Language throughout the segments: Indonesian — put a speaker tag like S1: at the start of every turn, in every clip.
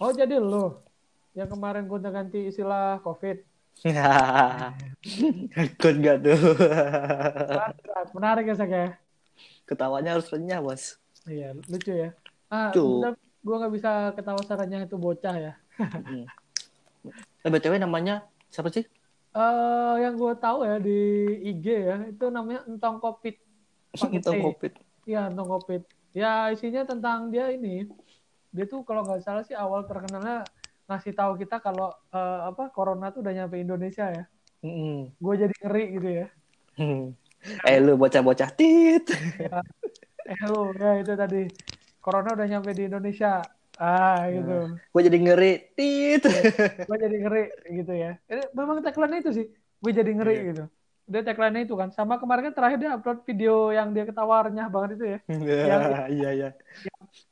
S1: Oh jadi lu yang kemarin gonta ganti istilah COVID.
S2: Ikut gak tuh?
S1: Menarik, menarik ya Sak ya.
S2: Ketawanya harus renyah, Bos.
S1: Iya lucu ya. Ah,
S2: Tuh.
S1: bentar, gua nggak bisa ketawa sarannya itu bocah ya.
S2: Mm. Eh, BTW namanya siapa sih?
S1: Eh yang gua tahu ya di IG ya itu namanya entong kopit. Pakai
S2: Tentang
S1: T.
S2: COVID.
S1: Iya entong kopit. Ya isinya tentang dia ini. Dia tuh kalau nggak salah sih awal terkenalnya ngasih tahu kita kalau eh, apa corona tuh udah nyampe Indonesia ya.
S2: Mm-mm.
S1: Gue jadi ngeri gitu ya.
S2: Hmm. Eh lu bocah-bocah tit.
S1: Eh lu ya itu tadi corona udah nyampe di Indonesia. Ah gitu.
S2: Gue jadi ngeri tit.
S1: gue jadi ngeri gitu ya. Ini memang tagline itu sih, gue jadi ngeri
S2: Iya.
S1: gitu. Dia tagline itu kan. Sama kemarin kan terakhir dia upload video yang dia ketawa renyah banget itu ya.
S2: Iya iya iya.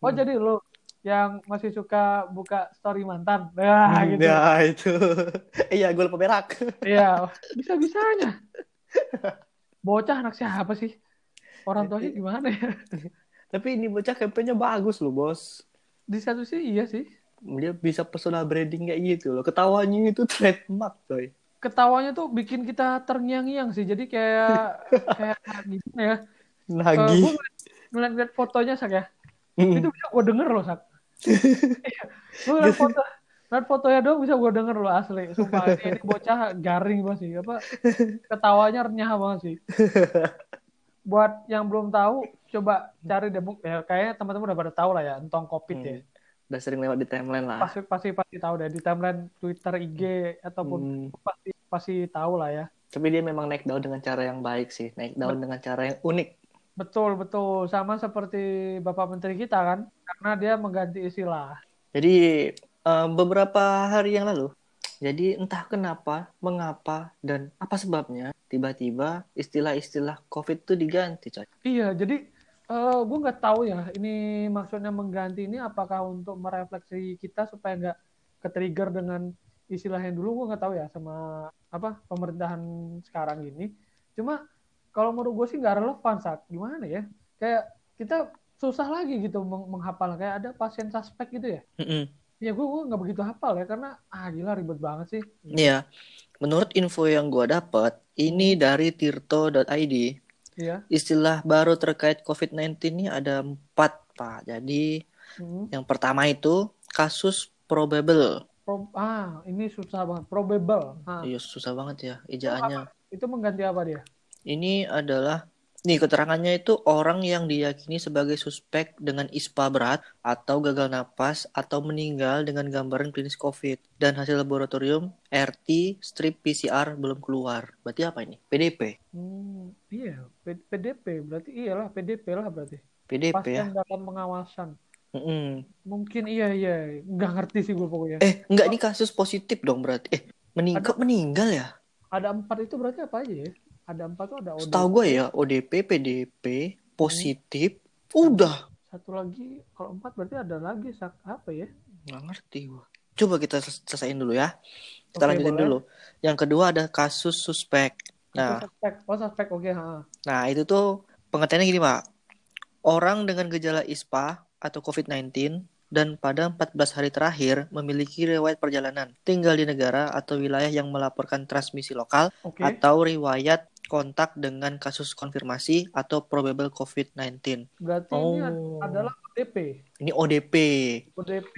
S1: Oh jadi lo yang masih suka buka story mantan. Nah gitu. Iya,
S2: Nah itu. Iya gue lupa berak.
S1: bisa-bisanya. Bocah anak siapa sih? Orang tuanya gimana ya?
S2: Tapi ini bocah kampanye bagus loh bos.
S1: Di satu sih iya sih.
S2: Dia bisa personal branding kayak gitu loh. Ketawanya itu trademark
S1: Eh,
S2: coy.
S1: Ketawanya tuh bikin kita terngiang-ngiang sih. Jadi kayak kayak gimana ya?
S2: Lagi.
S1: gue ngeliat fotonya sak ya.
S2: Hmm.
S1: itu bisa gue denger loh sak gue ngeliat foto ngeliat fotonya doang bisa gue denger loh asli sumpah ini, ini bocah garing banget sih apa ketawanya renyah banget sih buat yang belum tahu coba cari deh Bu. ya, kayaknya teman-teman udah pada tahu lah ya entong covid ya
S2: Hmm. Udah sering lewat di timeline lah.
S1: pasti pasti pasti tahu deh di timeline twitter ig ataupun
S2: Hmm.
S1: pasti pasti tahu lah ya
S2: Tapi dia memang naik daun dengan cara yang baik sih. Naik daun dengan cara yang unik.
S1: betul betul sama seperti bapak menteri kita kan karena dia mengganti istilah
S2: Jadi eh, beberapa hari yang lalu, jadi entah kenapa, mengapa, dan apa sebabnya tiba-tiba istilah-istilah COVID itu diganti, coy.
S1: Iya, jadi gue nggak tahu ya ini maksudnya mengganti ini apakah untuk merefleksi kita supaya nggak ketrigger dengan istilah yang dulu gue nggak tahu ya sama apa pemerintahan sekarang gini. Cuma kalau menurut gue sih nggak relevan saat gimana ya kayak kita susah lagi gitu meng- menghafal kayak ada pasien suspek gitu ya. Ya gue nggak begitu hafal ya karena ah gila ribet banget sih.
S2: Iya. Menurut info yang gua dapat, ini dari tirto.id,
S1: Iya.
S2: istilah baru terkait COVID-19 ini ada empat, Pak. Jadi
S1: Mm.
S2: yang pertama itu kasus probable.
S1: Pro- ah ini susah banget. Probable. Ah,
S2: Iya, susah banget ya ejaannya.
S1: itu mengganti apa dia?
S2: Ini adalah nih keterangannya itu orang yang diyakini sebagai suspek dengan ispa berat atau gagal napas atau meninggal dengan gambaran klinis COVID dan hasil laboratorium RT strip PCR belum keluar. Berarti apa ini? PDP.
S1: Hmm, iya, P- PDP berarti iyalah PDP lah berarti.
S2: PDP ya.
S1: Pasien dalam pengawasan.
S2: Mm-mm.
S1: Mungkin iya iya, nggak ngerti sih gue pokoknya.
S2: Eh, enggak ini kasus positif dong berarti. Eh, mening- kok meninggal ya?
S1: Ada empat itu berarti apa aja ya? Ada empat tuh ada OD.
S2: Setahu gue ya ODP, PDP, positif, udah.
S1: Satu lagi kalau empat berarti ada lagi sak apa ya?
S2: Nggak ngerti gue. Coba kita sel- selesaiin dulu ya. Kita
S1: Oke,
S2: lanjutin
S1: boleh.
S2: dulu. Yang kedua ada kasus suspek.
S1: Itu
S2: Nah,
S1: suspek. Oh suspek oke. ha.
S2: nah itu tuh pengertiannya gini, Pak. Orang dengan gejala ISPA atau COVID-19 dan pada 14 hari terakhir memiliki riwayat perjalanan, tinggal di negara atau wilayah yang melaporkan transmisi lokal
S1: Oke.
S2: atau riwayat kontak dengan kasus konfirmasi atau probable COVID-19.
S1: Berarti ini ad-
S2: Oh.
S1: adalah ODP.
S2: Ini ODP.
S1: ODP.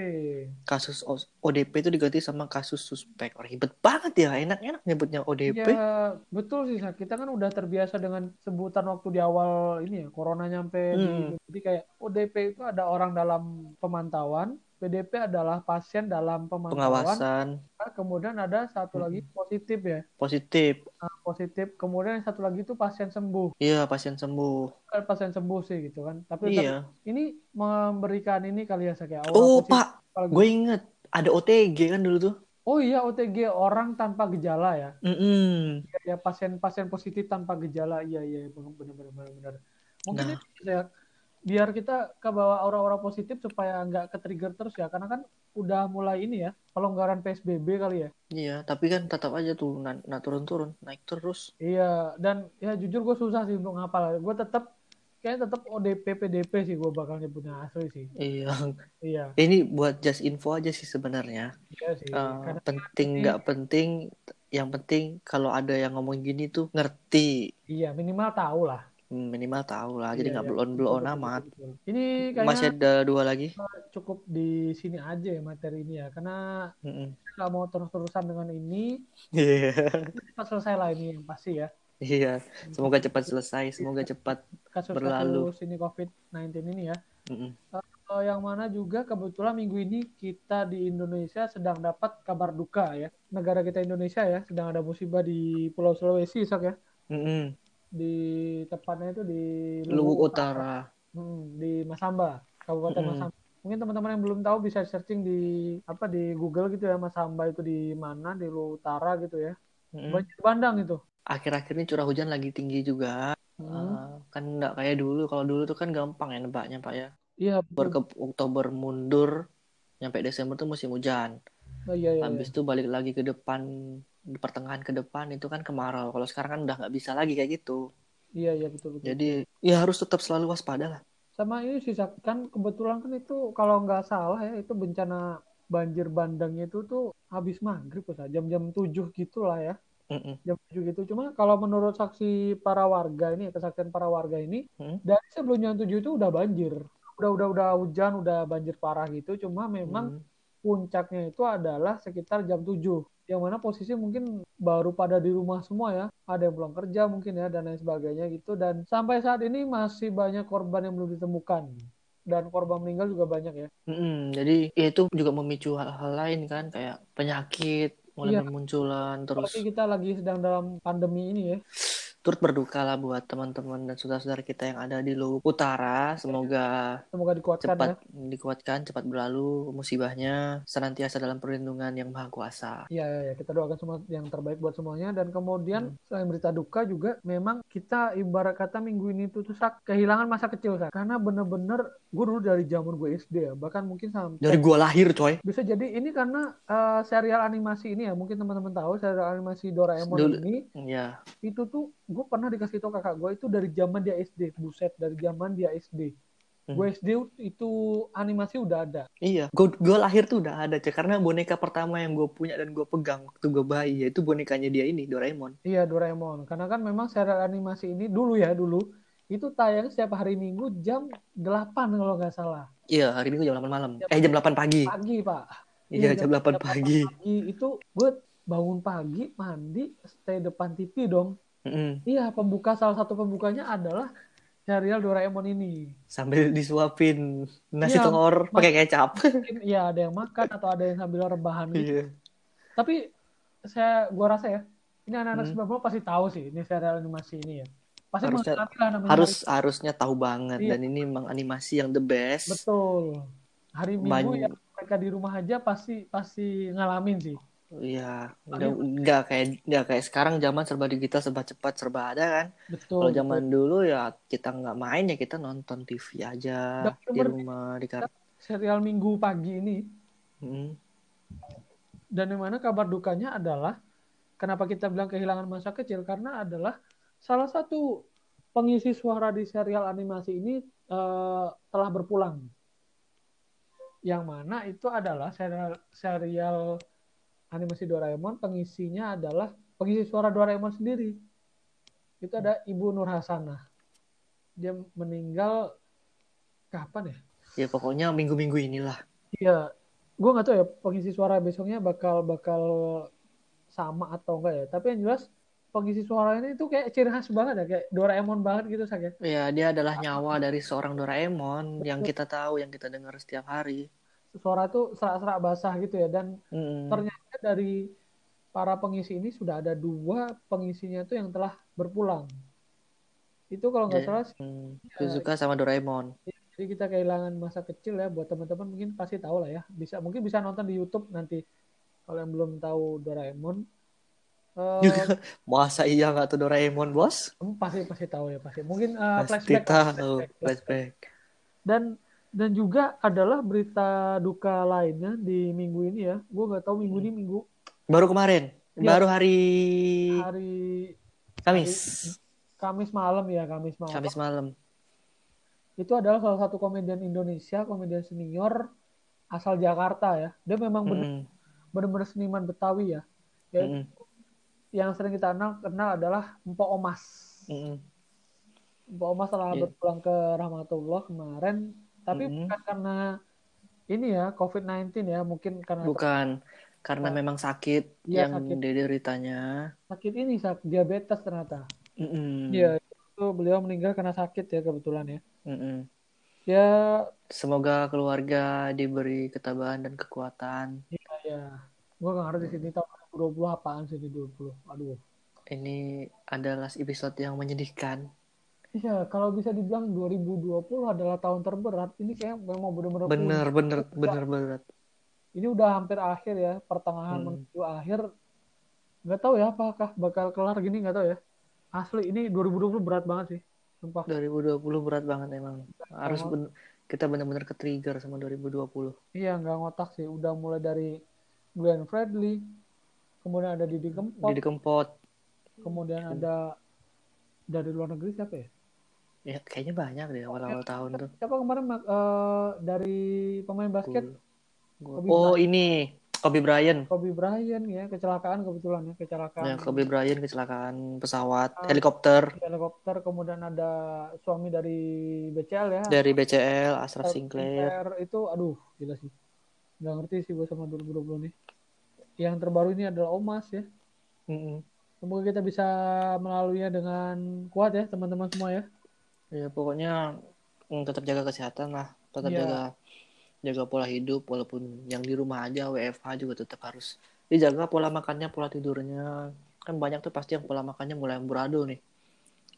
S2: Kasus O- ODP itu diganti sama kasus suspek. Ribet banget ya, enak-enak nyebutnya ODP.
S1: Ya betul sih Sak. Kita kan udah terbiasa dengan sebutan waktu di awal ini ya, corona nyampe di-
S2: Hmm.
S1: jadi kayak ODP itu ada orang dalam pemantauan, PDP adalah pasien dalam pemantauan,
S2: Pengawasan
S1: kemudian ada satu
S2: Hmm.
S1: lagi positif ya,
S2: positif.
S1: Nah, positif, kemudian yang satu lagi itu pasien sembuh,
S2: Iya, pasien sembuh.
S1: Bukan pasien sembuh sih gitu kan, tapi tetap-
S2: Iya.
S1: ini memberikan ini kali ya Sak ya, orang
S2: Oh,
S1: positif,
S2: Pak,
S1: kalau gitu.
S2: gue inget ada OTG kan dulu tuh.
S1: oh iya OTG orang tanpa gejala ya,
S2: Mm-mm.
S1: ya pasien-pasien positif tanpa gejala iya iya benar-benar benar mungkin
S2: Nah.
S1: itu ya biar kita ke bawah aura-aura positif supaya nggak ke trigger terus ya karena kan udah mulai ini ya pelonggaran psbb kali ya
S2: Iya, tapi kan tetap aja tuh na- nah turun-turun, naik terus.
S1: iya dan ya jujur gue susah sih untuk ngapal gue tetap kayaknya tetap ODP PDP sih gue bakal nyebutnya asli sih
S2: Iya.
S1: iya
S2: Ini buat just info aja sih sebenarnya.
S1: iya sih
S2: Eh,
S1: karena
S2: penting nggak penting, yang penting kalau ada yang ngomong gini tuh ngerti.
S1: iya minimal tahu lah
S2: Hmm, Minimal tahu lah, jadi
S1: Iya,
S2: nggak
S1: iya.
S2: belon belon
S1: Betul, betul,
S2: amat.
S1: betul. ini kayaknya
S2: Masih ada dua lagi.
S1: cukup di sini aja ya materi ini ya karena
S2: Mm-mm.
S1: nggak mau terus-terusan dengan ini
S2: Iya,
S1: cepat selesai lah ini yang pasti ya
S2: iya. Semoga cepat selesai, semoga cepat. Berlalu.
S1: kasus-kasus ini COVID-19 ini ya
S2: Mm-mm.
S1: Eh, yang mana juga kebetulan minggu ini kita di Indonesia sedang dapat kabar duka ya negara kita Indonesia ya sedang ada musibah di Pulau Sulawesi Sok ya
S2: Mm-mm.
S1: di tepatnya itu di
S2: Luwuk Utara.
S1: Hmm, di Masamba, Kabupaten
S2: Mm-mm.
S1: Masamba. Mungkin teman-teman yang belum tahu bisa searching di apa di Google gitu ya Masamba itu di mana di Luwu Utara gitu ya.
S2: Mm-mm.
S1: Banjir bandang itu.
S2: Akhir-akhir ini curah hujan lagi tinggi juga.
S1: Hmm.
S2: Eh, kan nggak kayak dulu. Kalau dulu tuh kan gampang ya nebaknya Pak ya.
S1: Iya,
S2: Oktober
S1: betul.
S2: ke Oktober mundur, nyampe Desember tuh musim hujan.
S1: Oh, iya, iya, iya.
S2: Habis itu balik lagi ke depan, pertengahan ke depan itu kan kemarau. Kalau sekarang kan udah nggak bisa lagi kayak gitu.
S1: Iya, iya, betul betul.
S2: Jadi ya harus tetap selalu waspada lah.
S1: Sama ini sisa kan kebetulan kan itu kalau nggak salah ya itu bencana banjir bandangnya itu tuh habis maghrib Ustaz. jam-jam 7 gitulah ya
S2: Mm-mm.
S1: jam 7 gitu cuma kalau menurut saksi para warga ini kesaksian para warga ini
S2: Hmm.
S1: dari sebelum jam 7 itu udah banjir udah udah udah hujan udah banjir parah gitu cuma memang
S2: Mm.
S1: puncaknya itu adalah sekitar jam 7 yang mana posisi mungkin baru pada di rumah semua ya ada yang pulang kerja mungkin ya dan lain sebagainya gitu dan sampai saat ini masih banyak korban yang belum ditemukan dan korban meninggal juga banyak ya
S2: Mm-mm. Jadi ya itu juga memicu hal-hal lain kan kayak penyakit
S1: Iya.
S2: mulai bermunculan terus
S1: apalagi kita lagi sedang dalam pandemi ini ya
S2: turut berduka lah buat teman-teman dan saudara-saudara kita yang ada di Luwu Utara. Semoga
S1: semoga dikuatkan ya
S2: cepat dikuatkan, cepat berlalu musibahnya, senantiasa dalam perlindungan yang maha kuasa.
S1: Iya, iya, iya. kita doakan semua yang terbaik buat semuanya. Dan kemudian
S2: Hmm.
S1: selain berita duka juga, memang kita ibarat kata minggu ini tuh, tuh Sak, kehilangan masa kecil Sak. Karena bener-bener gue dulu dari zaman gue SD ya, bahkan mungkin sampai
S2: Dari gua lahir coy.
S1: bisa jadi ini karena eh, serial animasi ini ya, mungkin teman-teman tahu serial animasi Doraemon
S2: Dulu.
S1: ini
S2: Iya.
S1: itu tuh gue pernah dikasih tau kakak gue itu dari zaman dia SD, buset dari zaman dia SD.
S2: Hmm.
S1: Gue SD itu animasi udah ada.
S2: Iya. Gua, gua lahir tuh udah ada coy. Karena boneka pertama yang gua punya dan gua pegang waktu gua bayi yaitu bonekanya dia ini Doraemon.
S1: Iya Doraemon. Karena kan memang serial animasi ini dulu ya dulu itu tayang setiap hari Minggu jam 8 kalau nggak salah.
S2: Iya, hari Minggu jam 8 malam. Eh jam 8 pagi.
S1: Pagi, Pak.
S2: Iya, jam 8 pagi.
S1: Pagi itu gue bangun pagi, mandi, stay depan TV dong.
S2: Mm-mm.
S1: Iya, pembuka salah satu pembukanya adalah serial Doraemon ini.
S2: Sambil disuapin nasi
S1: Iya,
S2: telur pakai kecap.
S1: Mungkin ya ada yang makan atau ada yang sambil rebahan gitu.
S2: Iya.
S1: Tapi saya gua rasa ya, ini anak-anak
S2: Hmm.
S1: 90 pasti tahu sih ini serial animasi ini ya. Pasti
S2: Harusnya-
S1: mengalami lah namanya.
S2: Harus harusnya tahu banget
S1: Iya.
S2: dan ini memang animasi yang the best.
S1: Betul. Hari Minggu
S2: Banyak-
S1: ya mereka di rumah aja pasti pasti ngalamin sih.
S2: Iya, udah nggak kayak nggak kayak sekarang zaman serba digital, serba cepat, serba ada kan.
S1: Betul.
S2: Kalau zaman dulu ya kita nggak main ya kita nonton TV aja
S1: Nggak
S2: di
S1: bener.
S2: rumah di Hmm, kamar.
S1: serial Minggu pagi ini dan yang mana kabar dukanya adalah kenapa kita bilang kehilangan masa kecil karena adalah salah satu pengisi suara di serial animasi ini eh, telah berpulang. Yang mana itu adalah serial serial animasi Doraemon pengisinya adalah pengisi suara Doraemon sendiri. Itu ada Ibu Nur Hasanah. Dia meninggal kapan ya?
S2: Ya pokoknya minggu-minggu inilah.
S1: Iya, gue nggak tahu ya pengisi suara besoknya bakal bakal sama atau enggak ya. Tapi yang jelas pengisi suaranya itu kayak ciri khas banget ya, kayak Doraemon banget gitu sak ya.
S2: Ya dia adalah nyawa dari seorang Doraemon yang kita tahu, yang kita dengar setiap hari.
S1: Suara tuh serak-serak basah gitu ya. Dan
S2: Mm-mm.
S1: ternyata dari para pengisi ini sudah ada dua pengisinya tuh yang telah berpulang. Itu kalau nggak
S2: Iya.
S1: salah
S2: Mm. Suzuka sama Doraemon.
S1: jadi kita kehilangan masa kecil ya buat teman-teman mungkin pasti tahu lah ya. Bisa mungkin bisa nonton di YouTube nanti kalau yang belum tahu Doraemon. Eh,
S2: Juga masa iya nggak tuh Doraemon bos?
S1: Kamu Oh, pasti pasti tahu ya pasti. Mungkin uh,
S2: Pasti
S1: flashback,
S2: tahu
S1: flashback, flashback.
S2: flashback.
S1: Dan dan juga adalah berita duka lainnya di minggu ini ya. Gue nggak tahu minggu
S2: Hmm.
S1: ini minggu
S2: Baru kemarin,
S1: Iya.
S2: baru hari
S1: hari
S2: Kamis,
S1: Kamis malam ya Kamis malam.
S2: Kamis malam.
S1: itu adalah salah satu komedian Indonesia, komedian senior asal Jakarta ya. Dia memang bener-
S2: Mm-mm.
S1: bener-bener seniman Betawi ya. Ya,
S2: Mm-mm.
S1: Yang sering kita kenal, kenal adalah Mpok Omas.
S2: Mm-mm.
S1: Mpok Omas telah
S2: Iya. Hmm.
S1: berpulang ke Rahmatullah kemarin, tapi
S2: Mm-mm.
S1: bukan karena ini ya COVID-19 ya, mungkin karena
S2: Bukan karena memang sakit
S1: Iya,
S2: yang
S1: sakit.
S2: dideritanya.
S1: sakit ini sak diabetes ternyata.
S2: Mm-mm.
S1: Iya, itu beliau meninggal karena sakit ya kebetulan ya.
S2: Mm-mm.
S1: Ya,
S2: Semoga keluarga diberi ketabahan dan kekuatan.
S1: ya, ya. Gue gak ngerti sini tahun 2020 apaan sih ini 20. Aduh.
S2: Ini adalah episode yang menyedihkan.
S1: Iya, kalau bisa dibilang 2020 adalah tahun terberat. Ini kayak memang benar-benar
S2: Bener, bener, bener banget.
S1: Ini udah hampir akhir ya, pertengahan
S2: Hmm.
S1: menuju akhir. Nggak tahu ya apakah bakal kelar gini nggak tahu ya. Asli ini 2020 berat banget sih, sumpah.
S2: 2020 berat banget emang. Harus
S1: Oh.
S2: ben- kita bener-bener ke trigger sama 2020.
S1: Iya, nggak ngotak sih. Udah mulai dari Glenn Fredly, kemudian ada Didi Kempot,
S2: Jadi kempot. Gitu.
S1: kemudian ada dari luar negeri siapa ya?
S2: Ya, kayaknya banyak deh awal-awal tahun tuh.
S1: Siapa kemarin eh, dari pemain basket
S2: Gua-
S1: Kobe
S2: Oh ini Kobe Bryant.
S1: Kobe Bryant ya kecelakaan kebetulan ya kecelakaan
S2: Ya, Kobe Bryant kecelakaan pesawat,
S1: Ah.
S2: helikopter
S1: di helikopter kemudian ada suami dari BCL ya
S2: dari BCL, Ashraf
S1: Ashraf
S2: Sinclair.
S1: itu aduh gila sih nggak ngerti sih gue sama 2020 nih yang terbaru ini adalah Omas ya
S2: Mm-mm.
S1: semoga kita bisa melaluinya dengan kuat ya teman-teman semua ya
S2: Ya pokoknya mm, tetap jaga kesehatan lah, tetap
S1: Iya.
S2: jaga jaga pola hidup walaupun yang di rumah aja WFH juga tetap harus dijaga pola makannya, pola tidurnya. Kan banyak tuh pasti yang pola makannya mulai amburadul nih.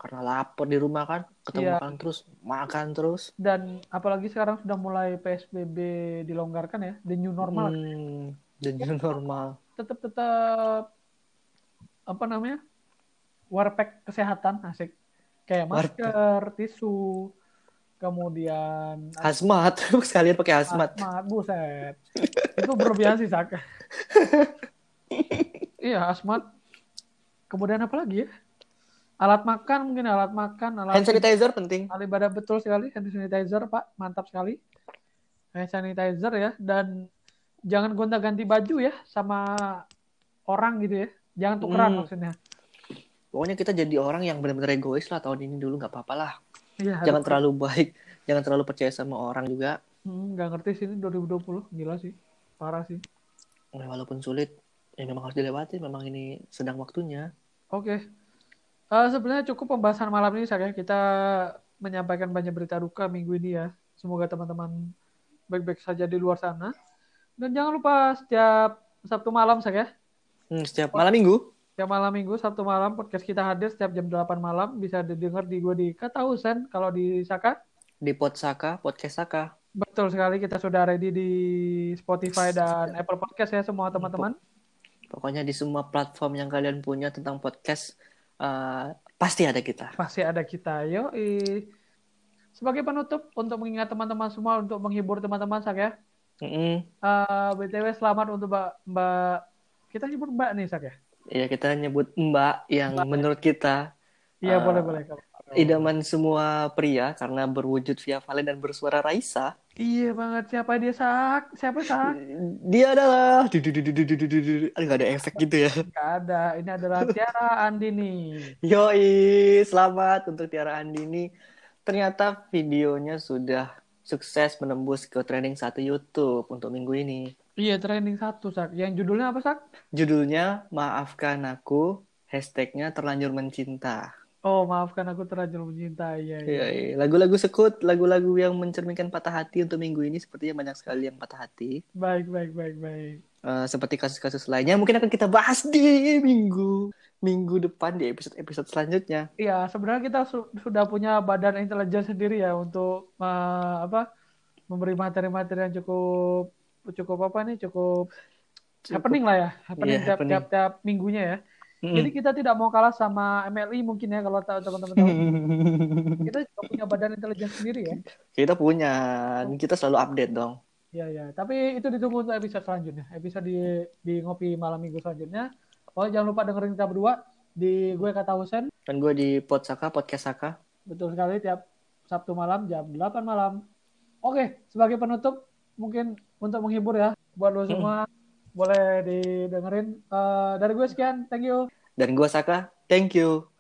S2: Karena lapar di rumah kan,
S1: Iya.
S2: ketemu makan terus, makan terus.
S1: dan apalagi sekarang sudah mulai PSBB dilonggarkan ya the new normal
S2: Hmm, dan new normal.
S1: tetap tetap apa namanya warpek kesehatan asik kayak
S2: Warpek.
S1: masker tisu kemudian
S2: Hazmat, sekalian pakai hazmat.
S1: asmat buset itu berlebihan sih sak iya asmat kemudian apa lagi ya alat makan mungkin alat makan alat
S2: Hand sanitizer penting.
S1: Kali ibadah betul sekali hand sanitizer Pak, mantap sekali. Hand sanitizer ya dan jangan gonta-ganti baju ya sama orang gitu ya. Jangan tukeran
S2: Hmm.
S1: maksudnya.
S2: Pokoknya kita jadi orang yang benar-benar egois lah tahun ini dulu nggak apa-apa lah.
S1: Iya,
S2: Jangan
S1: harus-
S2: terlalu baik, jangan terlalu percaya sama orang juga.
S1: Hmm, nggak ngerti sih ini 2020, gila sih. Parah sih.
S2: Nah, Walaupun sulit, ya memang harus dilewati. Memang ini sedang waktunya.
S1: Oke. Eh, sebenarnya cukup pembahasan malam ini saya kita menyampaikan banyak berita duka minggu ini ya. Semoga teman-teman baik-baik saja di luar sana. Dan jangan lupa setiap Sabtu malam ya, saya
S2: Hmm, setiap malam minggu,
S1: Setiap malam minggu, Sabtu malam, podcast kita hadir setiap jam 8 malam. Bisa didengar di gue di Kata Husen, kalau di Saka.
S2: di Podsaka, Podcast Saka.
S1: Betul sekali, kita sudah ready di Spotify dan Apple Podcast ya semua teman-teman.
S2: Pokoknya di semua platform yang kalian punya tentang podcast, eh, pasti ada kita.
S1: Pasti ada kita, yo. Sebagai penutup, untuk mengingat teman-teman semua, untuk menghibur teman-teman, Sak ya.
S2: Mm-mm.
S1: Eh, BTW, selamat untuk Mbak, Mbak... Kita hibur Mbak nih, Sak ya?
S2: Ya kita nyebut Mbak yang menurut kita
S1: Iya,
S2: Eh,
S1: boleh-boleh.
S2: idaman semua pria karena berwujud via Valen dan bersuara Raisa.
S1: Iya banget, siapa dia, Sak? Siapa, Sak?
S2: Dia adalah Aduh, nggak ada efek gitu ya.
S1: Nggak ada. Ini adalah Tiara Andini.
S2: Yoi, selamat untuk Tiara Andini. Ternyata videonya sudah sukses menembus ke trending satu YouTube untuk minggu ini.
S1: Iya, trending satu, Sak. Yang judulnya apa, Sak?
S2: Judulnya Maafkan Aku, hashtagnya Terlanjur Mencinta.
S1: Oh, maafkan aku terlanjur mencintai. Iya, iya.
S2: Yoi, lagu-lagu sekut, lagu-lagu yang mencerminkan patah hati untuk minggu ini sepertinya banyak sekali yang patah hati.
S1: Baik, baik, baik, baik.
S2: Eh, seperti kasus-kasus lainnya mungkin akan kita bahas di minggu minggu depan di episode-episode selanjutnya.
S1: Iya, sebenarnya kita su- sudah punya badan intelijen sendiri ya untuk eh, apa? memberi materi-materi yang cukup cukup apa nih? Cukup, happening lah ya. Happening
S2: Iya,
S1: tiap,
S2: happening. Hmm.
S1: tiap tiap minggunya ya. Jadi kita tidak mau kalah sama MLI mungkin ya kalau tahu teman-teman tahu.
S2: Mm.
S1: Kita juga punya badan intelijen sendiri ya.
S2: kita punya, kita selalu update dong.
S1: Iya, iya. Tapi itu ditunggu untuk episode selanjutnya. Episode di, di Ngopi Malam Minggu selanjutnya. Oh, jangan lupa dengerin kita berdua di gue kata Husen.
S2: Kan Dan gue di Podsaka, Podcast Saka.
S1: Betul sekali tiap Sabtu malam jam 8 malam. Oke, sebagai penutup mungkin untuk menghibur ya buat lo semua boleh didengerin Eh, dari gue sekian. Thank you.
S2: Dan gua Saka, thank you.